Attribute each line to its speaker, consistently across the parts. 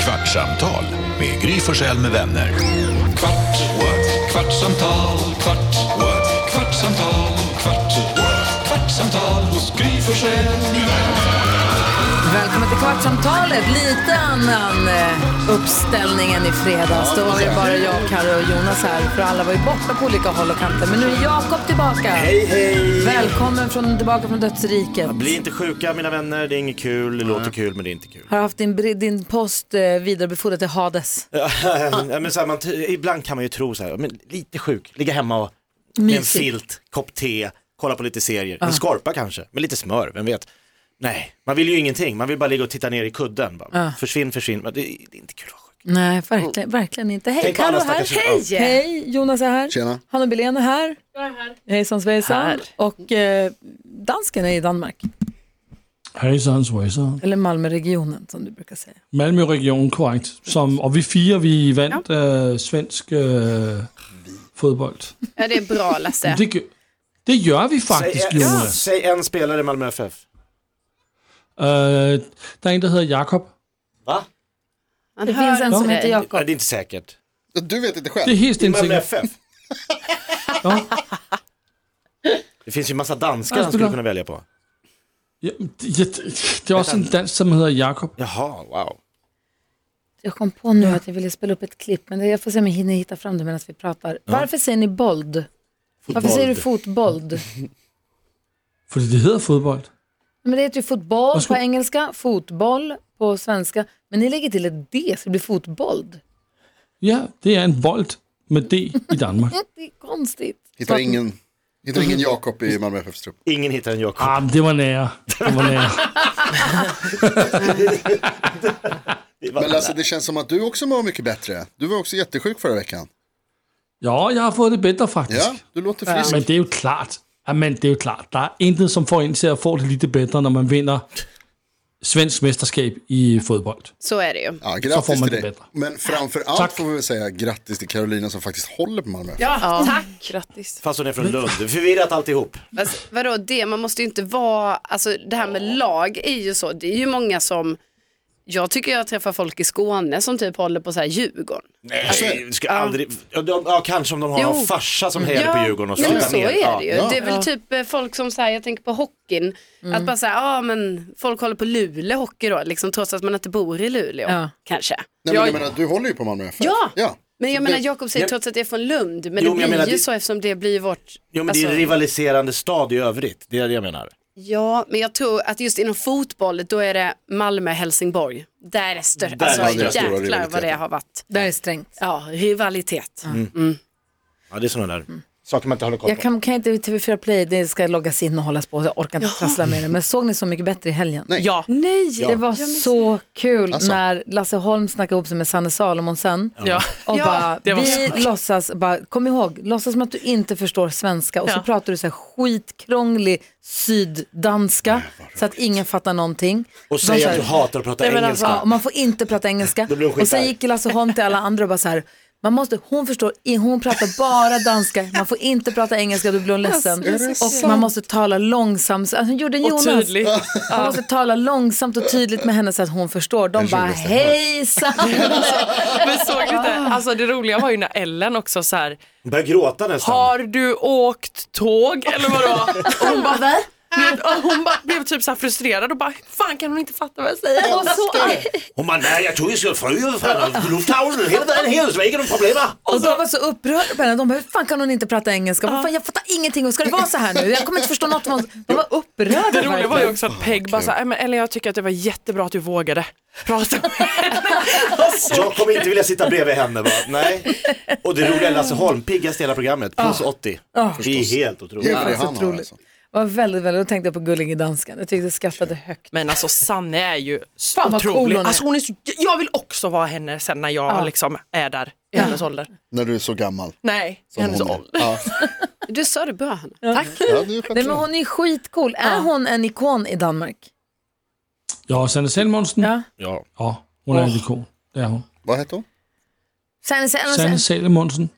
Speaker 1: Kvartsamtal med Gry Forssell med vänner.
Speaker 2: Kvart, what? kvartsamtal, kvart, what? kvartsamtal, kvart, what? kvartsamtal hos Gry Forssell med vänner.
Speaker 3: Välkommen till Kvartsamtalet. Lite annan eh, uppställning än i fredags. Då var det bara jag, Karo och Jonas här. För alla var ju borta på olika håll och kanter. Men nu är Jakob tillbaka. Hej, hej. Välkommen från, tillbaka från dödsriket.
Speaker 4: Bli inte sjuka mina vänner, det är inget kul, det låter kul men det är inte kul.
Speaker 3: Har haft din, bri- din post eh, vidarebefordrad till Hades.
Speaker 4: Ja, men så här, man, t- ibland kan man ju tro så här, men lite sjuk, ligga hemma och med en
Speaker 3: Mysigt.
Speaker 4: filt, kopp te, kolla på lite serier, en skorpa kanske, med lite smör, vem vet. Nej, man vill ju ingenting, man vill bara ligga och titta ner i kudden. Bara. Försvinn, försvinn, Men det, det är inte kul att vara sjuk.
Speaker 3: Nej, verkligen, verkligen inte. Hej,
Speaker 4: Tänk på
Speaker 3: Karo
Speaker 4: alla
Speaker 3: här.
Speaker 4: stackars-
Speaker 3: Hej! Hej, Jonas är här.
Speaker 5: Tjena.
Speaker 3: Hanna Billén är här. Jag är här. Hejsan svejsan.
Speaker 6: Här.
Speaker 3: Och eh, dansken är i Danmark.
Speaker 7: Hejsan svejsan.
Speaker 3: Eller Malmöregionen som du brukar säga.
Speaker 7: Malmöregion korrekt. Som, och vi firar, vi vann äh, svensk äh, fotboll.
Speaker 6: Ja, det är bra Lasse.
Speaker 7: Det, gö- det gör vi faktiskt
Speaker 4: säg, en,
Speaker 7: Jonas.
Speaker 4: säg en spelare i Malmö FF.
Speaker 7: Äh, det är en som heter Jakob.
Speaker 4: Va?
Speaker 6: Han
Speaker 3: Det
Speaker 6: hör
Speaker 3: finns en
Speaker 6: på
Speaker 3: som
Speaker 6: dig.
Speaker 3: heter Jakob.
Speaker 4: Nej, det är inte säkert.
Speaker 5: Du vet inte
Speaker 7: Det är
Speaker 5: själv.
Speaker 7: helt
Speaker 4: Malmö
Speaker 7: enkelt.
Speaker 4: FF.
Speaker 7: Ja.
Speaker 4: Det finns ju massa danskar
Speaker 7: Ja,
Speaker 4: han skulle
Speaker 7: spelar-
Speaker 4: kunna välja på.
Speaker 7: Ja, det, det, det är också en dans som heter Jakob.
Speaker 4: Jaha, wow.
Speaker 3: Jag kom på nu att jag ville spela upp ett klipp, men det- jag får se om jag hinner hitta fram det medan vi pratar. Varför säger ni bold? Varför säger du fotbold? Nej,
Speaker 7: För det heter fotboll.
Speaker 3: Men det heter ju fotboll
Speaker 7: Varsågod.
Speaker 3: på engelska, fotboll på svenska, men ni lägger till ett D så det blir fotbold.
Speaker 7: Ja, det är en boll med D i Danmark.
Speaker 3: Det är konstigt.
Speaker 5: Hittar ingen, hittar ingen Jakob i Malmö FFs trupp.
Speaker 4: Ingen hittar en Jakob.
Speaker 7: Ah, det var nära. Det var nära.
Speaker 5: Men Lasse, det känns som att du också mår mycket bättre. Du var också jättesjuk förra veckan.
Speaker 7: Ja, jag har fått det bättre faktiskt.
Speaker 5: Ja, du låter frisk.
Speaker 7: Men det är ju klart. Ja, men det är ju klart. Det är intet som får en till att få det lite bättre när man vinner svensk mästerskap i fotboll.
Speaker 6: Så är det ju.
Speaker 5: Ja,
Speaker 7: Så får
Speaker 5: grattis
Speaker 7: man
Speaker 5: till
Speaker 7: det
Speaker 5: dig.
Speaker 7: bättre.
Speaker 5: Men framför allt
Speaker 7: Tack.
Speaker 5: får vi väl säga grattis till Carolina som faktiskt håller på Malmö FF.
Speaker 6: Ja, tack. Grattis.
Speaker 4: Fast hon är från Lund. Det är Förvirrat alltihop.
Speaker 6: Alltså, vadå det, man måste ju inte vara, alltså det här med lag är ju så, det är ju många som, jag tycker jag träffar folk i Skåne som typ håller på så här Djurgården.
Speaker 4: Nej, vi Alltså, ska aldrig... Ja, de- ja, kanske om de har
Speaker 6: Jo.
Speaker 4: någon farsa som hejar på Djurgården och
Speaker 6: nej, men
Speaker 4: tittar
Speaker 6: så
Speaker 4: ner.
Speaker 6: är det ju.
Speaker 5: Ja.
Speaker 6: Det är väl typ eh, folk som säger, jag tänker på hockeyn, att
Speaker 3: Mm.
Speaker 6: bara säga, ja men folk håller på Luleå hockey då, liksom, trots att man inte bor i Luleå
Speaker 3: Ja.
Speaker 6: kanske.
Speaker 5: Nej, men jag menar, du håller ju på Malmö FF.
Speaker 6: Ja.
Speaker 5: ja.
Speaker 6: Men jag menar Jakob säger
Speaker 4: Ja.
Speaker 6: trots att jag är från Lund, men
Speaker 4: Jo, men
Speaker 6: det
Speaker 4: jag
Speaker 6: blir
Speaker 4: menar,
Speaker 6: ju
Speaker 4: det-
Speaker 6: så eftersom det blir vårt...
Speaker 4: Jo, men det är
Speaker 6: alltså-
Speaker 4: en rivaliserande stad i övrigt. Det är det jag menar.
Speaker 6: Ja, men jag tror att just inom fotboll, då är det Malmö, Helsingborg. Där är det större,
Speaker 4: Där
Speaker 6: alltså
Speaker 4: är det
Speaker 5: stora
Speaker 6: jäklar vad det
Speaker 5: rivaliteter.
Speaker 6: har varit.
Speaker 3: Det här är strängt.
Speaker 6: Ja, rivalitet.
Speaker 4: Ja, det är sådana där saker man inte håller koll
Speaker 3: Jag
Speaker 4: på.
Speaker 3: kan, kan inte TV4 Play, det ska loggas in och hållas på, jag orkar inte trassla med det. Men såg ni Så mycket bättre i helgen?
Speaker 5: Nej.
Speaker 6: Ja.
Speaker 3: Nej, det var så kul
Speaker 5: Alltså.
Speaker 3: när Lasse Holm snackade ihop sig med Sanne Salomonsen.
Speaker 8: Ja.
Speaker 3: Och
Speaker 6: Ja,
Speaker 3: bara,
Speaker 8: det var
Speaker 3: vi låtsas, bara, kom ihåg, låtsas som att du inte förstår svenska och så
Speaker 8: Ja.
Speaker 3: pratar du så här skitkrånglig syddanska så att ingen fattar någonting.
Speaker 4: Och säga
Speaker 3: Man
Speaker 4: att
Speaker 3: så
Speaker 4: du
Speaker 3: här,
Speaker 4: hatar att prata
Speaker 3: "Nej, men alltså,
Speaker 4: engelska.
Speaker 3: och man får inte prata engelska.
Speaker 4: blir hon
Speaker 3: Och sen
Speaker 4: skitarg.
Speaker 3: gick Lasse Holm till alla andra och bara så här, man måste, hon förstår, i- hon pratar bara danska, man får inte prata engelska, då blir hon ledsen. Och man måste tala långsamt, alltså, hon gjorde en Jonas.
Speaker 8: tydligt.
Speaker 3: Man måste tala långsamt och tydligt med henne så att hon förstår. De bara, hejsan!
Speaker 8: Men såg ni inte? Alltså det roliga var ju när Ellen också så här,
Speaker 4: Hon börjar gråta nästan.
Speaker 8: har du åkt tåg eller vadå? Och hon bara,
Speaker 3: Va?
Speaker 8: blev, och hon bara blev typ så här frustrerad och bara, "Hur fan kan hon inte fatta vad jag säger? Och, så,
Speaker 4: Hon bara, nej jag tror jag ska flyga från Lufthavnen hela vägen hit och så är det inga problem.
Speaker 3: Och de var så upprörda på henne. De bara, hur fan kan hon inte prata engelska? Vad fan, jag fattar ingenting. Och Ska det vara så här nu? Jag kommer inte förstå något. av vad- De var upprörda.
Speaker 8: det roliga var ju
Speaker 3: verkligen.
Speaker 8: också att Peg bara så här, "Nej, men Ellen jag tycker att det var jättebra att du vågade prata med henne. Och så,
Speaker 4: Jag kommer inte vilja sitta bredvid henne va? Nej. Och det roliga är Lasse Holm, piggast i hela programmet, plus 80. Det är helt
Speaker 5: Det
Speaker 4: otroligt.
Speaker 5: är för det
Speaker 3: så
Speaker 5: han har
Speaker 3: otroligt.
Speaker 5: alltså.
Speaker 3: Det var väldigt, väldigt, då tänkte jag på Gullige Dansken. Jag tyckte jag skrattade högt.
Speaker 8: men alltså Sanne är ju
Speaker 3: Fan, vad cool
Speaker 8: otrolig.
Speaker 3: hon är.
Speaker 8: alltså, hon är så, jag vill också vara henne sen när jag liksom är där i hennes ålder.
Speaker 5: När du är så gammal.
Speaker 8: Nej, i
Speaker 5: som
Speaker 8: hennes
Speaker 5: hon är.
Speaker 8: ålder.
Speaker 5: Ja.
Speaker 6: Du sa det bra Hanna.
Speaker 5: Ja, det är ju
Speaker 3: Nej, men
Speaker 5: självklart.
Speaker 3: hon är ju skitcool. Är hon en ikon i Danmark?
Speaker 7: Ja, Sanne Salmonsen.
Speaker 3: Ja.
Speaker 4: Ja.
Speaker 7: Ja, hon är en ikon. Det är hon.
Speaker 5: Vad hette hon?
Speaker 3: Sen, sen, sen,
Speaker 7: Sanne Salomonsen.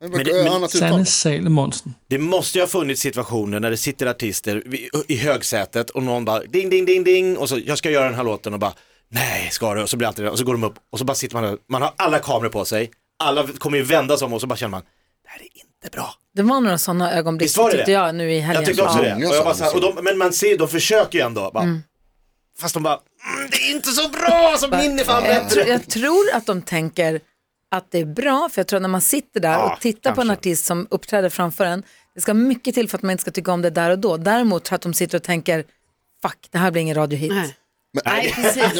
Speaker 5: Det
Speaker 4: Men det-
Speaker 5: var ett
Speaker 4: men-
Speaker 5: annat uttal.
Speaker 7: Sanne Salomonsen.
Speaker 4: Det måste ju ha funnits situationer när det sitter artister i- i högsätet och någon bara ding, ding, ding, ding och så jag ska göra den här låten och bara nej ska du? Och så blir alltid och så går de upp och så bara sitter man där, man har alla kameror på sig, alla kommer ju vända sig om och så bara känner man, det här är inte bra.
Speaker 3: Det var några sådana ögonblick
Speaker 4: Visst var det
Speaker 3: tyckte
Speaker 4: det?
Speaker 3: jag nu i helgen.
Speaker 4: Jag tyckte också
Speaker 3: Ja.
Speaker 4: det. Och jag bara så här, och de, men man ser, de försöker ju ändå. Bara, Fast de bara, mm, det är inte så bra, som min är fan
Speaker 3: Jag, tro,
Speaker 4: bättre.
Speaker 3: jag tror att de tänker att det är bra, för jag tror när man sitter där
Speaker 4: Ja,
Speaker 3: och tittar på en
Speaker 4: kanske.
Speaker 3: artist som uppträder framför en, det ska mycket till för att man inte ska tycka om det där och då. Däremot tror jag att de sitter och tänker, fuck, det här blir ingen radiohit.
Speaker 6: Nej.
Speaker 5: Men-
Speaker 6: Nej, precis. Nej,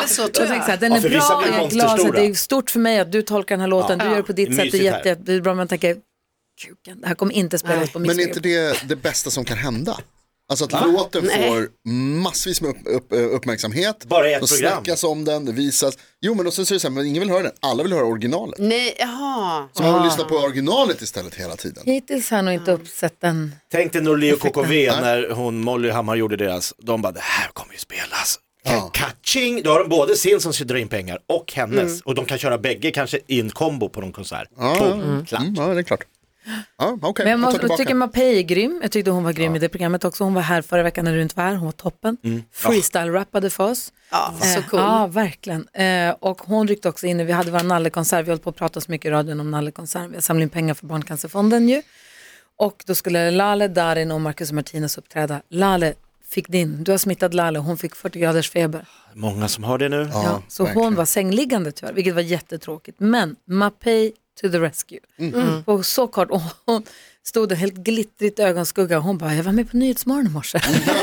Speaker 6: men så
Speaker 3: Jag tänker
Speaker 6: tror
Speaker 3: så här,
Speaker 6: jag.
Speaker 3: den
Speaker 4: Ja,
Speaker 3: är
Speaker 4: för vissa
Speaker 3: bra,
Speaker 4: blir
Speaker 3: jag är glad, så att
Speaker 4: monsterstora.
Speaker 3: det är stort för mig att du tolkar den här låten, du gör det på ditt
Speaker 4: Det är
Speaker 3: sätt, det är
Speaker 4: mysigt
Speaker 3: jätte,
Speaker 4: här.
Speaker 3: jättebra, men jag tänker, kuken, det här kommer inte spelas på
Speaker 5: Men
Speaker 3: mitt
Speaker 5: är inte det det bästa som kan hända? Alltså att låten
Speaker 6: Nej.
Speaker 5: får massvis med upp, upp, eh, uppmärksamhet.
Speaker 4: Bara i ett
Speaker 5: så
Speaker 4: program.
Speaker 5: snackas om den, det visas. Jo men och så är det så här, men ingen vill höra den, alla vill höra originalet.
Speaker 3: Mm.
Speaker 6: Nej, jaha.
Speaker 5: Så
Speaker 3: Ah.
Speaker 5: man vill lyssna på originalet istället hela tiden.
Speaker 3: Hittills har jag nog inte uppsett den.
Speaker 4: Tänk dig Norli och KKV när hon Molly Hammar gjorde deras, de bara, det här kommer ju spelas.
Speaker 5: Ja.
Speaker 4: Catching, då har de både sin som ska dra in pengar och hennes. Och de kan köra bägge kanske i en kombo på någon konsert.
Speaker 5: Ja,
Speaker 4: Boom, klart.
Speaker 5: Mm, ja, det är klart. Ja, okej.
Speaker 3: Men
Speaker 5: jag tar
Speaker 3: jag
Speaker 5: tillbaka.
Speaker 3: tycker Mapei är grym. Jag tyckte hon var grym i det programmet också. Hon var här förra veckan när du inte var här. Hon var toppen.
Speaker 5: Mm.
Speaker 3: Freestyle-rappade för oss.
Speaker 6: Ja, så
Speaker 3: Eh,
Speaker 6: cool.
Speaker 3: Ja, verkligen. Eh, och hon ryckte också in, när vi hade vår nallekonsert, vi höll på att prata så mycket i radion om nallekonserten, vi har samlat in pengar för Barncancerfonden ju. Och då skulle Lale, Darin och Marcus och Martinus uppträda. Lale fick din, du har smittat Lale, hon fick 40 graders feber.
Speaker 4: Många som hör det nu.
Speaker 5: Ja,
Speaker 3: Ja, så
Speaker 5: verkligen.
Speaker 3: hon var sängliggande tyvärr, vilket var jättetråkigt. Men Mapei to the rescue.
Speaker 6: Mm.
Speaker 3: Och så kort, och hon stod där helt glittrigt i ögonskugga och hon bara, jag var med på Nyhetsmorgon i morse. så hon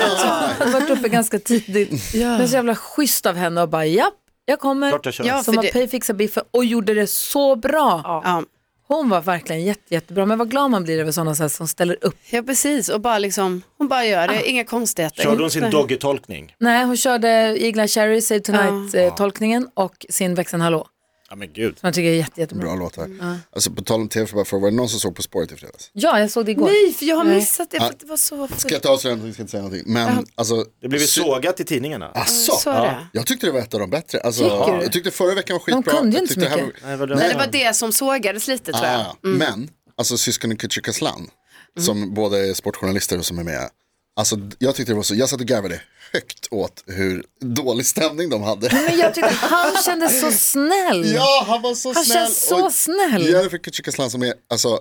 Speaker 3: hade varit uppe ganska tidigt. Det var så jävla schysst av henne och bara, japp, jag kommer.
Speaker 4: Klart jag kör.
Speaker 6: Ja,
Speaker 3: så
Speaker 6: för det-
Speaker 3: Mapei fixade biffen och gjorde det så bra.
Speaker 6: Ja.
Speaker 3: Hon var verkligen jätte, jättebra, men vad glad man blir över sådana så här som ställer upp.
Speaker 6: ja, precis. Och bara liksom, hon bara gör det, inga konstigheter.
Speaker 4: Körde hon sin
Speaker 6: Nej.
Speaker 4: doggy-tolkning?
Speaker 3: Nej, hon körde Igla Cherry, Save Tonight-tolkningen och sin Växeln Hallå,
Speaker 4: Ja men gud.
Speaker 3: som jag tycker är jätte, jättebra.
Speaker 5: Bra låt här.
Speaker 3: Ah.
Speaker 5: Alltså på tal om tv, för bara för, var det någon som såg På spåret i fredags?
Speaker 3: Ja, jag såg det igår.
Speaker 6: Nej, för jag har missat det. För
Speaker 5: Ja.
Speaker 6: att det var så...
Speaker 5: Ska jag inte avslöja någonting, ska inte säga någonting.
Speaker 3: Ah.
Speaker 5: Men alltså.
Speaker 4: Det blev ju
Speaker 5: sy-
Speaker 4: sågat i tidningarna.
Speaker 5: Asså,
Speaker 6: Så är det.
Speaker 5: jag tyckte det var ett av de bättre. Alltså,
Speaker 3: Tycker du?
Speaker 5: jag tyckte förra veckan var
Speaker 3: De
Speaker 5: skitbra.
Speaker 3: kunde ju
Speaker 5: Jag
Speaker 3: inte så
Speaker 5: tyckte det här
Speaker 3: mycket.
Speaker 5: var-
Speaker 4: Nej, vad
Speaker 6: Nej, det var det som sågades lite tror jag.
Speaker 5: Ah, Men, alltså syskonen Kücükaslan, som båda är sportjournalister och som är med. Alltså jag tyckte det var så, jag satt och garvade högt åt hur dålig stämning de hade.
Speaker 3: Men jag tyckte att han kändes så snäll.
Speaker 5: Ja, han var så
Speaker 3: Mm. Han
Speaker 5: snäll.
Speaker 3: känns så snäll.
Speaker 5: Jennifer Kücükaslan som är alltså,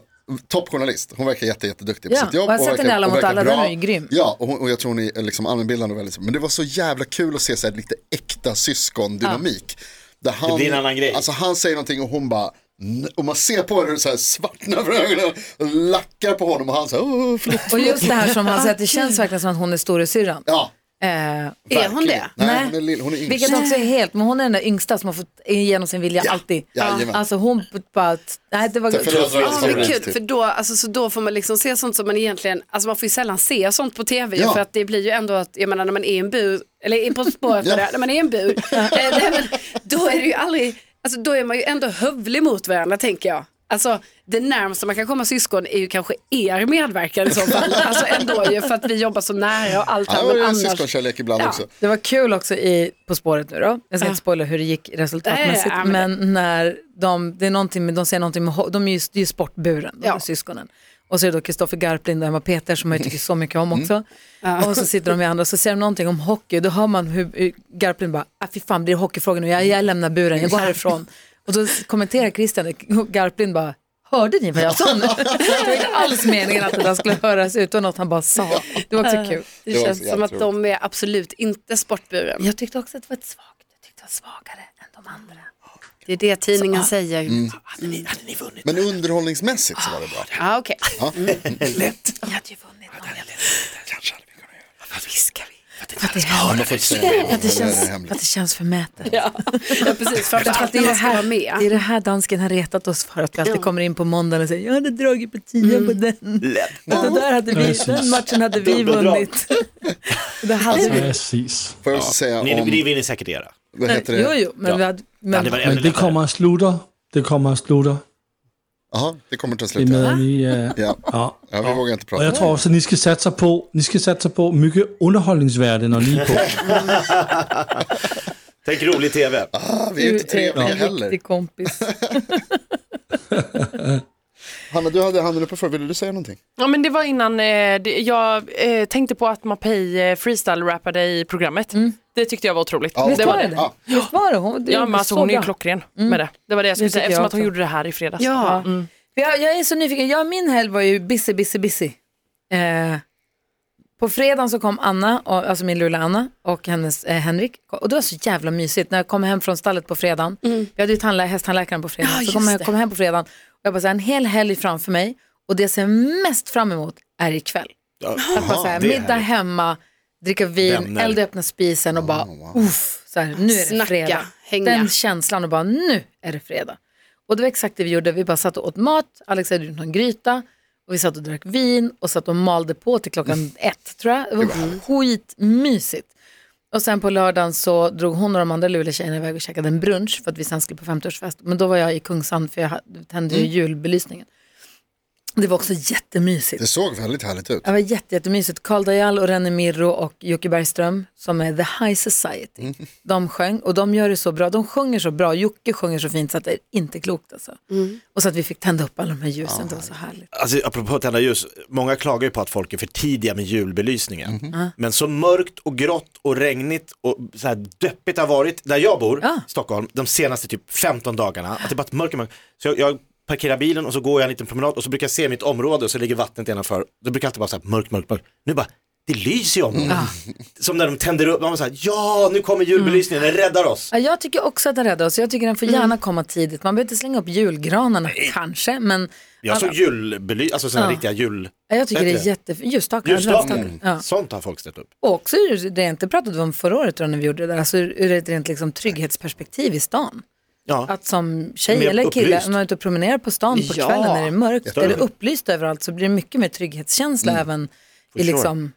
Speaker 5: toppjournalist. Hon verkar jätte, jätteduktig på
Speaker 3: Ja,
Speaker 5: sitt jobb.
Speaker 3: och jag har sett
Speaker 5: verkar-
Speaker 3: henne i Alla mot
Speaker 5: verkar
Speaker 3: alla,
Speaker 5: bra.
Speaker 3: den är ju grym.
Speaker 5: Ja, och, hon, och jag tror hon är liksom allmänbildande och väldigt, men det var så jävla kul att se så här lite äkta syskondynamik. Där han,
Speaker 4: blir en annan grej.
Speaker 5: Alltså han säger någonting och hon bara, "N-" och man ser på henne hur det så här svartnar för ögonen och lackar på honom och han så här, "Åh, förlåt.
Speaker 3: Och just det här som han säger, att det känns verkligen som att hon är storasyrran.
Speaker 5: Ja,
Speaker 3: Eh,
Speaker 6: Är hon
Speaker 5: verkligen.
Speaker 6: det?
Speaker 5: Nej,
Speaker 3: Nej.
Speaker 5: hon är, lill, hon är yngst.
Speaker 3: vilket också är helt, men hon är den där yngsta som har fått igenom sin vilja alltid.
Speaker 5: jajamän.
Speaker 3: Alltså hon bara, nej det var
Speaker 5: Förlåt,
Speaker 6: Ja,
Speaker 5: förlåt,
Speaker 6: men
Speaker 5: förlåt.
Speaker 6: kul, för då, alltså, så då får man liksom se sånt som man egentligen, alltså man får ju sällan se sånt på tv ju,
Speaker 5: Ja.
Speaker 6: för att det blir ju ändå att, jag menar när man är i en bur, eller in på spår efter
Speaker 5: Ja.
Speaker 6: det, när man är i en bur, eh, nej, men, då är det ju aldrig, alltså då är man ju ändå hövlig mot varandra tänker jag. Alltså det närmaste man kan komma syskon är ju kanske er medverkan i så fall, alltså ändå ju för att vi jobbar så nära och allt
Speaker 5: Ja,
Speaker 6: här,
Speaker 5: det
Speaker 6: men
Speaker 5: är
Speaker 6: annars.
Speaker 5: syskonkärlek ibland
Speaker 6: Ja.
Speaker 5: också.
Speaker 3: Det var kul också i På spåret nu då, jag ska inte spoila hur det gick resultatmässigt,
Speaker 6: Nej, ja, men-
Speaker 3: men, när de, det är någonting med, de säger någonting med, ho- de är ju, det är ju sportburen, de
Speaker 6: Ja.
Speaker 3: här syskonen. Och så är det då Kristoffer Garplind och Emma Peter som jag tycker så mycket om också. Och så sitter de i andra och så ser de någonting om hockey, då hör man hur hur Garplind bara, ah, fy fan blir det hockeyfrågor nu, jag, jag lämnar buren, jag går härifrån. Och då kommenterar Christian, och Garplind bara, hörde ni vad jag sa nu? Det var inte alls meningen att det där skulle höras ut, det var något han bara sa. Det var också kul.
Speaker 6: Det
Speaker 5: Det var
Speaker 6: känns
Speaker 5: så
Speaker 6: som att
Speaker 5: jävla
Speaker 6: de är absolut inte sportburen.
Speaker 3: Jag tyckte också att det var ett svagt. Jag tyckte det var svagare än de andra.
Speaker 6: Det är det tidningen säger.
Speaker 5: Mm. Men underhållningsmässigt så var det bra.
Speaker 6: Ah, okay.
Speaker 3: Jag hade ju vunnit om jag
Speaker 5: Kanske hade vi kunnat göra
Speaker 3: För att det är
Speaker 5: det.
Speaker 3: För att det
Speaker 5: Det
Speaker 3: känns,
Speaker 5: är hemligt.
Speaker 3: för att det känns förmätet.
Speaker 6: ja, precis.
Speaker 3: För att
Speaker 6: Framförallt
Speaker 3: det, är det,
Speaker 6: när man ska vara
Speaker 3: här,
Speaker 6: med.
Speaker 3: det är det här dansken har retat oss för, att vi alltid kommer in på måndagen och säger jag hade dragit på tio på den. Och det där hade vi,
Speaker 7: Precis.
Speaker 3: den matchen hade vi
Speaker 4: Dubbeldrag.
Speaker 3: vunnit. Det hade vi.
Speaker 7: Præcis.
Speaker 5: Får jag också säga
Speaker 4: Ni, ni
Speaker 5: om,
Speaker 4: vill ni säkert göra.
Speaker 5: vad heter
Speaker 3: Jo,
Speaker 5: det?
Speaker 3: jo, men vi hade, men,
Speaker 4: det var
Speaker 7: Men det kommer at slutter. Det kommer at slutter.
Speaker 5: Jaha, det kommer ta
Speaker 7: Det
Speaker 5: slut.
Speaker 7: med, at I, øh,
Speaker 5: Ja.
Speaker 7: ja.
Speaker 5: Ja, vi vågar inte prata.
Speaker 7: Og jeg tror også, at I skal satse sig på, I skal satse sig på mygge underholdningsværde, når I er på.
Speaker 4: Tänk rolig tv.
Speaker 5: Ah, vi är ju inte trevliga
Speaker 3: en
Speaker 5: heller.
Speaker 3: riktig kompis.
Speaker 5: Hanna, du hade handen uppe för. Ville du säga någonting?
Speaker 8: Ja men det var innan, eh, det, jag eh, tänkte på att Mapei eh, freestyle-rappade i programmet. Det tyckte jag var otroligt.
Speaker 5: Ja,
Speaker 8: det
Speaker 3: Visst
Speaker 5: otroligt.
Speaker 8: var,
Speaker 3: var det det?
Speaker 5: Ja.
Speaker 3: Visst var det? Hon, det
Speaker 8: ja men
Speaker 3: gjorde
Speaker 8: alltså
Speaker 3: så
Speaker 8: hon är ju
Speaker 3: bra.
Speaker 8: klockren med det. Det var det jag skulle
Speaker 3: Det
Speaker 8: säga
Speaker 3: tycker
Speaker 8: eftersom
Speaker 3: jag
Speaker 8: att hon
Speaker 3: också.
Speaker 8: gjorde det här i fredags.
Speaker 3: Ja. Mm. För Jag, jag är så nyfiken. Jag, min helg var ju busy, busy, busy. Eh, på fredagen så kom Anna, och, alltså min lilla Anna och hennes eh, Henrik. Och det var så jävla mysigt när jag kom hem från stallet på fredagen. Vi hade ju tandlä- hästtandläkaren på fredagen.
Speaker 6: Mm.
Speaker 3: så
Speaker 6: Ja,
Speaker 3: kom
Speaker 6: just
Speaker 3: jag
Speaker 6: det.
Speaker 3: kom hem på fredagen och jag bara så här, en hel helg framför mig. Och det jag ser mest fram emot är ikväll.
Speaker 4: Ja.
Speaker 3: Att bara så här,
Speaker 4: det är
Speaker 3: middag
Speaker 4: härligt.
Speaker 3: hemma, dricka vin,
Speaker 4: Vänner. Oh,
Speaker 3: elda öppna spisen och bara uff, så här, nu är det
Speaker 6: Snacka,
Speaker 3: fredag.
Speaker 6: hänga.
Speaker 3: Den känslan och bara nu är det fredag. Och det var exakt det vi gjorde, vi bara satt och åt mat, Alex hade gjort någon gryta och vi satt och drack vin och satt och malde på till klockan ett tror jag. Det var skitmysigt. Och sen på lördagen så drog hon och de andra Luleå-tjejerna iväg och käkade en brunch för att vi sen skulle på 50-årsfest. Men då var jag i Kungsan för jag hade- tände ju julbelysningen. Det var också jättemysigt.
Speaker 5: Det såg väldigt härligt ut.
Speaker 3: Det var jätte, jättemysigt. Carl Dajal och René Mirro och Jocke Bergström som är The High Society. De sjöng och de gör det så bra. De sjunger så bra. Jocke sjunger så fint så att det är inte klokt alltså. Och så att vi fick tända upp alla de här ljusen. det var så härligt.
Speaker 4: Alltså apropå tända ljus, många klagar ju på att folk är för tidiga med julbelysningen. Men så mörkt och grått och regnigt och så här döppigt har varit där jag bor,
Speaker 3: Ja.
Speaker 4: Stockholm, de senaste typ 15 dagarna. Att det bara är mörker, mörker. Så jag, jag parkerar bilen och så går jag en liten promenad och så brukar jag se mitt område och så ligger vattnet innanför. Då brukar jag alltid vara så här mörkt, mörkt, mörkt. Nu bara, det lyser i området. Som när de tänder upp, man var så här, ja nu kommer julbelysningen,
Speaker 3: Mm.
Speaker 4: den räddar oss.
Speaker 3: Ja, jag tycker också att den räddar oss. Jag tycker den får gärna komma tidigt. Man behöver inte slänga upp julgranarna kanske. Men
Speaker 4: Jag såg julbelysning, alltså sådana
Speaker 3: Ja.
Speaker 4: riktiga jul...
Speaker 3: ja, jag tycker det är
Speaker 4: Bättre.
Speaker 3: jättefint. Ljusstakar.
Speaker 4: Ljusstaken,
Speaker 3: adventsstakar. Ja.
Speaker 4: sånt har folk ställt upp.
Speaker 3: Och också ur- det jag inte pratade om förra året då, när vi gjorde det där, alltså ur ur ett rent liksom, trygghetsperspektiv i stan.
Speaker 4: Ja.
Speaker 3: Att som tjej
Speaker 4: Mer
Speaker 3: eller kille,
Speaker 4: upplyst.
Speaker 3: när man är ute och promenerar på stan på
Speaker 8: Ja.
Speaker 3: kvällen när det är mörkt,
Speaker 4: Jättebra. Mm.
Speaker 3: är det upplyst överallt så blir det mycket mer trygghetskänsla även i
Speaker 4: sure.
Speaker 3: liksom,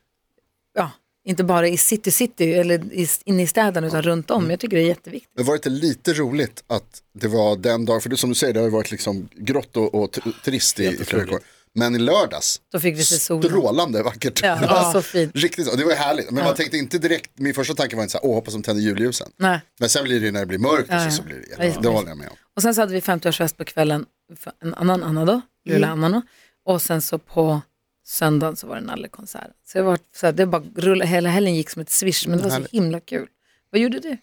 Speaker 3: ja, inte bara i city city eller i, inne i städerna utan runt
Speaker 4: Mm.
Speaker 3: om. Jag tycker det är jätteviktigt.
Speaker 5: Men var det inte lite roligt att det var den dagen, för det, som du säger, det har ju varit liksom grått och, och tr- trist i, i flera veckor. Men i lördags,
Speaker 3: Då fick vi se solen.
Speaker 5: strålande vackert.
Speaker 3: Ja, det var så fint.
Speaker 5: Riktigt, så. det var ju härligt. Men man tänkte inte direkt, min första tanke var inte så här, åh hoppas de tänder julljusen.
Speaker 3: Nej.
Speaker 5: Men sen blir det ju när det blir mörkt och så, så blir det
Speaker 3: Ja, just
Speaker 5: jävligt.
Speaker 3: det.
Speaker 5: Det håller jag med om.
Speaker 3: Och sen så hade vi 50-årsfest på kvällen för en annan Anna då,
Speaker 5: Mm.
Speaker 3: lilla Anna då. Och sen så på söndagen så var det Nalle-konsert. Så det var så här, det bara rulla, hela helgen gick som ett swish, men det var så himla kul. Vad gjorde du? Du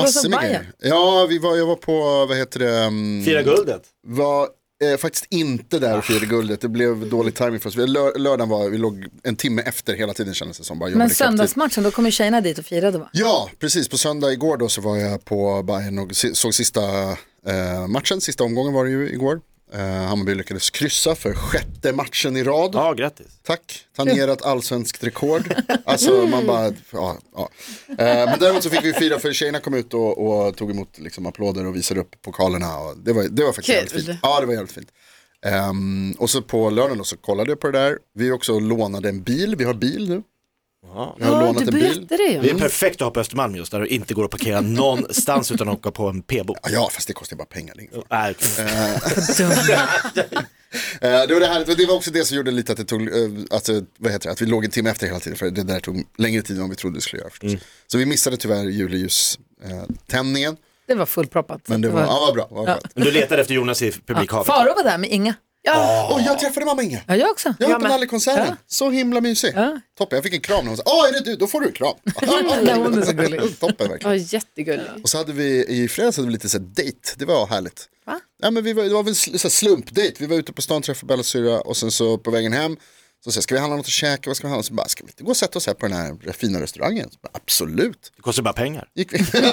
Speaker 3: var
Speaker 5: Massor
Speaker 3: som
Speaker 5: med
Speaker 3: Bajen.
Speaker 5: grejer. Ja, vi var, jag var på, vad heter det, um,
Speaker 4: Fira guldet.
Speaker 5: var eh, faktiskt inte där och firade guldet. Det blev dålig timing för oss. Vi- Lör, lördagen var, vi låg en timme efter hela tiden kändes det som. Bara jobbade
Speaker 3: Men
Speaker 5: ikapp tid.
Speaker 3: söndagsmatchen, då kom ju tjejerna dit och firade va?
Speaker 5: Ja, precis. På söndag igår då så var jag på Bayern och si- såg sista eh, matchen. Sista omgången var det ju igår. Eh, Hammarby lyckades kryssa för sjätte matchen i rad.
Speaker 4: Ja, grattis.
Speaker 5: Tack, tangerat allsvenskt rekord. Alltså man bara, ja, ja. Eh, Men däremot så fick vi fira för tjejerna kom ut och, och tog emot liksom applåder och visade upp pokalerna. Och det, var, det var faktiskt
Speaker 6: Kul.
Speaker 5: jävligt fint. Ja, det var jävligt fint. Ehm, och så på lördagen då så kollade jag på det där. Vi också lånade en bil, vi har bil nu. Vi har lånat en bil.
Speaker 6: det ju.
Speaker 4: Det är perfekt att ha på Östermalm just där det inte går att parkera någonstans utan att åka på en p-bok.
Speaker 5: Ja, Ja, fast det kostar ju bara pengar. det är ingen fara.
Speaker 4: Nej,
Speaker 5: Eh, det, var det, här, det var också det som gjorde lite att det tog, eh, att, det- vad heter det, att vi låg en timme efter hela tiden. För det där tog längre tid än vad vi trodde det skulle göra. förstås. Så vi missade tyvärr juleljuständningen.
Speaker 3: Det var fullproppat.
Speaker 5: Men det var, ja, vad bra. Vad skönt.
Speaker 4: men du letade efter Jonas i publikhavet.
Speaker 3: Faro var där med Inga.
Speaker 5: Och jag träffade mamma Inga.
Speaker 3: Ja, jag också.
Speaker 5: Jag var på Nallekonserten. Så himla mysig. Toppen, jag fick en kram när hon sa, ja är det du, då får du en kram.
Speaker 3: Ja, hon är så gullig.
Speaker 5: Toppen verkligen.
Speaker 6: Ja, jättegullig.
Speaker 5: Och så hade vi i fredags hade vi lite så här dejt, det var härligt. Ja, men vi var, det var väl en sl- så här slumpdejt, vi var ute på stan träffade Bellas syrra och sen så på vägen hem så sa jag, ska vi handla något att käka, vad ska vi handla? Så bara, ska vi inte gå och sätta oss här på den här fina restaurangen? Så bara, Absolut.
Speaker 4: Det kostar bara pengar.
Speaker 5: Gick vi.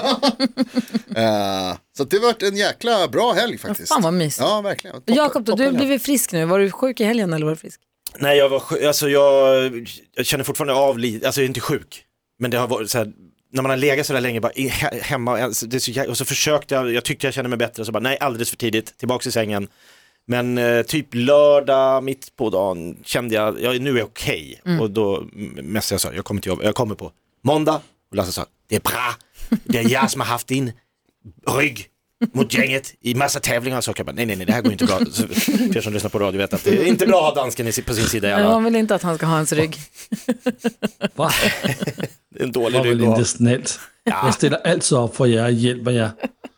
Speaker 5: Eh, så att det var en jäkla bra helg faktiskt.
Speaker 3: fan vad mysigt.
Speaker 5: Ja, verkligen. Toppen-
Speaker 3: Jakob, då, du har
Speaker 5: toppenhelg.
Speaker 3: blivit frisk nu. Var du sjuk i helgen eller var du frisk?
Speaker 4: Nej, jag var sjuk, alltså jag, jag känner fortfarande av lite, alltså jag är inte sjuk. Men det har varit så här, när man har legat så där länge bara i, he, hemma, alltså, det är så, jä- och så försökte jag, jag tyckte jag kände mig bättre, så bara nej, alldeles för tidigt, tillbaks i sängen. Men eh, typ lördag, mitt på dagen, kände jag, ja, nu är jag okej.
Speaker 6: Mm.
Speaker 4: Och då m- messade jag så här, jag kommer till jobbet, jag kommer på måndag. Och Lasse sa, det är bra, det är jag som har haft din rygg mot gänget i massa tävlingar. Så jag bara, nej, nej, nej, det här går inte bra. Så, för er som lyssnar på radio vet att det är inte bra att ha dansken i si- på sin sida i
Speaker 3: Nej,
Speaker 4: alla,
Speaker 3: Man vill inte att han ska ha ens rygg.
Speaker 7: Va?
Speaker 4: det är en
Speaker 7: Det var
Speaker 4: dålig
Speaker 7: väl
Speaker 4: rygg. att ha.
Speaker 7: inte snällt. Jag ställer alltid upp för er och hjälper er.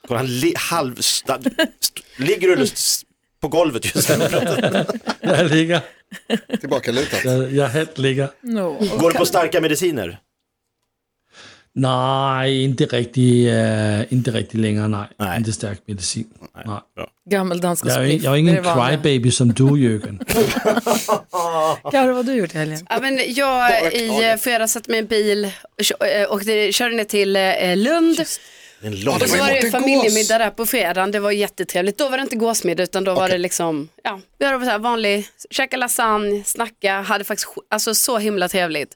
Speaker 4: Kolla, Han li, halv, sta- st, ligger du och s- på golvet just nu.
Speaker 7: Jeg ligger.
Speaker 5: Tillbaka lutat.
Speaker 7: Jeg, jeg halvt ligger.
Speaker 3: No.
Speaker 4: Går du på starka mediciner?
Speaker 7: Nej, ikke rigtig, øh, ikke rigtig længere, nej.
Speaker 4: Nej.
Speaker 7: Ikke stærk medicin. Nej. nej.
Speaker 3: Gammeldansk och
Speaker 7: Jeg er jo
Speaker 3: spliff.
Speaker 7: ikke, jeg er jo
Speaker 3: Det
Speaker 7: ikke en
Speaker 3: det vanliga.
Speaker 7: crybaby som du, Jørgen.
Speaker 3: Karo, vad har du gjort i helgen?
Speaker 6: Ja, men jag i eh, fredags satte mig i en bil och kö- eh, åkte- körde ner till eh, Lund.
Speaker 4: Det är en lång
Speaker 5: Ja,
Speaker 6: Och så
Speaker 5: var
Speaker 6: var det
Speaker 5: ju
Speaker 6: ju
Speaker 5: måtten
Speaker 6: familjemiddag där på fredagen, det var jättetrevligt. Då var det inte gåsmiddag utan då var
Speaker 5: Okej.
Speaker 6: det liksom, ja, vi hade så här vanlig, käka lasagne, snacka, hade faktiskt, sk- alltså så himla trevligt.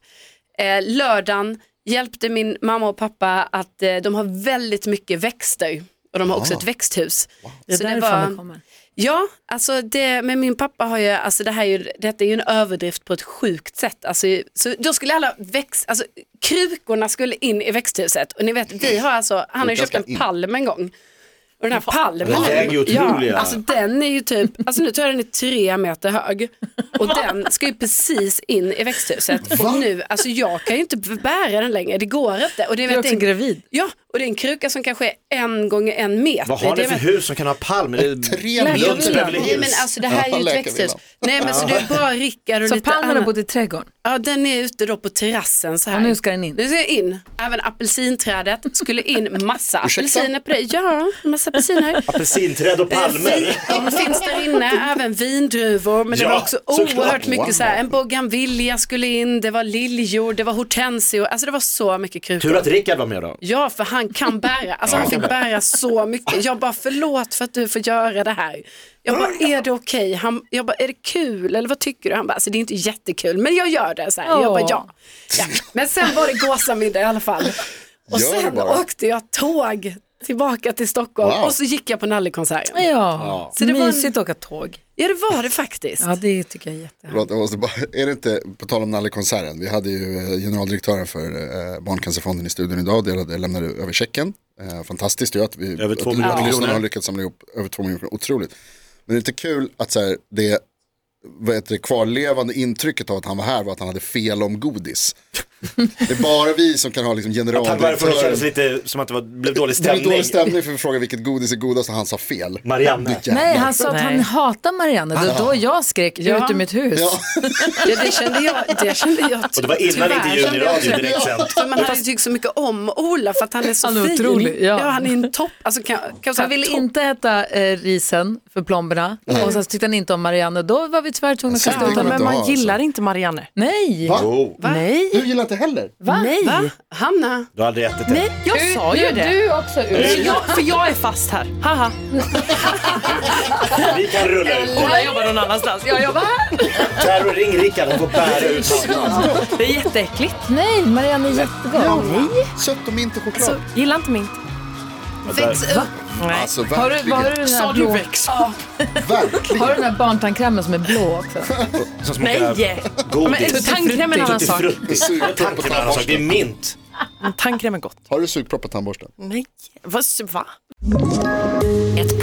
Speaker 6: Eh, lördagen hjälpte min mamma och pappa att eh, de har väldigt mycket växter och de har också ett växthus.
Speaker 3: Det är
Speaker 6: Så
Speaker 3: därifrån det kommer.
Speaker 6: Ja, alltså det, men min pappa har ju, alltså det här är ju, detta är ju en överdrift på ett sjukt sätt. Alltså, så då skulle alla växt, alltså krukorna skulle in i växthuset och ni vet, vi har alltså, han har ju köpt en palm en gång. Och den här palmen,
Speaker 4: Den väger ju otroliga.
Speaker 6: ja, alltså den är ju typ, alltså nu tror jag den är tre meter hög och den ska ju precis in i växthuset. Och nu, alltså jag kan ju inte bära den längre, det går inte. Och
Speaker 3: Du
Speaker 6: det
Speaker 3: är
Speaker 6: vet,
Speaker 3: också
Speaker 6: det är en,
Speaker 3: gravid.
Speaker 6: ja, och det är en kruka som kanske är en gånger en meter.
Speaker 4: Vad har
Speaker 6: Det
Speaker 4: ni
Speaker 6: är
Speaker 4: för hus som kan ha palm? Är det-
Speaker 5: Tre
Speaker 4: Lunds
Speaker 5: minuter.
Speaker 4: Beverly
Speaker 6: Nej
Speaker 4: Hills.
Speaker 6: men alltså det här är ju ett
Speaker 5: Läkarvillan.
Speaker 6: växthus. Nej men så det är bara Rickard och
Speaker 3: Så
Speaker 6: lite
Speaker 3: palmen har
Speaker 6: annat.
Speaker 3: bott i trädgården?
Speaker 6: Ja den är ute då på terrassen så här.
Speaker 3: Och nu ska den in.
Speaker 6: Nu ska jag in. Även apelsinträdet skulle in massa
Speaker 5: Ursäkta?
Speaker 6: apelsiner på det. Ja, massa apelsiner.
Speaker 4: Apelsinträd och palmer.
Speaker 6: De finns där inne, även vindruvor. Men det
Speaker 4: Ja,
Speaker 6: var också
Speaker 4: såklart.
Speaker 6: oerhört
Speaker 5: Wow.
Speaker 6: mycket så här, en bougainvillea skulle in, det var liljor, det var hortensior, alltså det var så mycket
Speaker 4: Tur
Speaker 6: krukor.
Speaker 4: att Rickard var med då.
Speaker 6: Ja, för han kan bära. Alltså han fick bära så mycket. Jag bara, förlåt för att du får göra det här. Jag bara, är det okej? Han, jag bara, är det kul? Eller vad tycker du? Han bara, alltså det är inte jättekul, men jag gör det. Så här. Jag bara, ja. ja. Men sen var det gåsamiddag i alla fall. Och
Speaker 5: Gör det
Speaker 6: sen
Speaker 5: bara.
Speaker 6: åkte jag tåg tillbaka till Stockholm
Speaker 5: Wow.
Speaker 6: och så gick jag på Nallekonserten.
Speaker 3: Ja,
Speaker 6: Så det var en-
Speaker 3: mysigt att åka tåg.
Speaker 6: Ja, det var det faktiskt.
Speaker 3: Ja, det tycker jag är jättehärligt.
Speaker 5: Förlåt, jag måste bara, är det inte, på tal om Nallekonserten, vi hade ju eh, generaldirektören för eh, Barncancerfonden i studion idag, delade, lämnade över checken. Eh, fantastiskt ju att vi
Speaker 4: Över två
Speaker 5: att
Speaker 4: miljoner.
Speaker 5: regionen har lyckats samla ihop över två miljoner, otroligt. Men det är inte kul att så här, det, vad heter det kvarlevande intrycket av att han var här var att han hade fel om godis. Det är bara vi som kan ha liksom
Speaker 4: Han började få det kännas
Speaker 5: generaldirektören.
Speaker 4: lite som att det var, blev dålig
Speaker 5: Det blev
Speaker 4: stämning.
Speaker 5: dålig stämning för vi frågade vilket godis är godast och han sa fel.
Speaker 4: Marianne.
Speaker 5: Jävlar.
Speaker 3: Nej, han sa att han
Speaker 8: Nej.
Speaker 3: hatar Marianne. Det var då jag skrek
Speaker 6: Ja.
Speaker 3: ut ur mitt hus.
Speaker 5: Ja.
Speaker 6: Ja, det kände jag. Det kände jag
Speaker 4: Och det var innan
Speaker 6: tyvärr.
Speaker 4: intervjun i radio direkt sen.
Speaker 6: För man hade ju tyckt så mycket om Ola för att han är så
Speaker 3: Han är
Speaker 6: fin.
Speaker 3: otrolig, ja.
Speaker 6: han är en topp. Alltså, kan, kan jag säga,
Speaker 3: Han ville
Speaker 6: topp.
Speaker 3: inte äta eh, risen för plomberna och sen så tyckte han inte om Marianne. Då var vi tyvärr tvungna att
Speaker 5: Jag
Speaker 3: kasta
Speaker 5: ser
Speaker 3: ut
Speaker 5: det.
Speaker 3: honom.
Speaker 5: inte
Speaker 8: Men
Speaker 5: ha,
Speaker 8: man
Speaker 5: alltså.
Speaker 8: gillar inte Marianne.
Speaker 3: Nej!
Speaker 5: Va?
Speaker 8: Nej,
Speaker 5: Du gillar inte heller?
Speaker 3: Va? Nej.
Speaker 6: Va? Hanna?
Speaker 4: Du har aldrig ätit det.
Speaker 8: nej, jag sa ju det.
Speaker 3: Du också.
Speaker 8: Nej, jag, för jag är fast här. Haha.
Speaker 4: Vi kan rulla ut.
Speaker 8: Ola jobbar någon annanstans. Jag jobbar här.
Speaker 4: Terror, ring Rickard. Han får bära ut honom.
Speaker 8: Det är jätteäckligt.
Speaker 3: Nej, Marianne är jättegod.
Speaker 5: Sött och mint och choklad.
Speaker 8: Gillar inte mint.
Speaker 6: Väx upp.
Speaker 8: Nej.
Speaker 5: Alltså
Speaker 3: Har du,
Speaker 5: verkligen.
Speaker 3: har, du den här blå,
Speaker 8: växt?
Speaker 5: verkligen.
Speaker 3: har du den här barntandkrämen som är blå också?
Speaker 4: Som smakar
Speaker 8: Nej!
Speaker 4: godis.
Speaker 8: Men tandkräm är en annan
Speaker 4: Tutti
Speaker 8: sak.
Speaker 4: frutti.
Speaker 5: Sugpropp och
Speaker 4: Tandkräm är en annan sak. Det är
Speaker 5: tandborste.
Speaker 4: mint.
Speaker 8: Tandkräm är gott.
Speaker 5: Har du sugpropp och tandborste?
Speaker 8: Nej. Vad? Va?
Speaker 9: Ett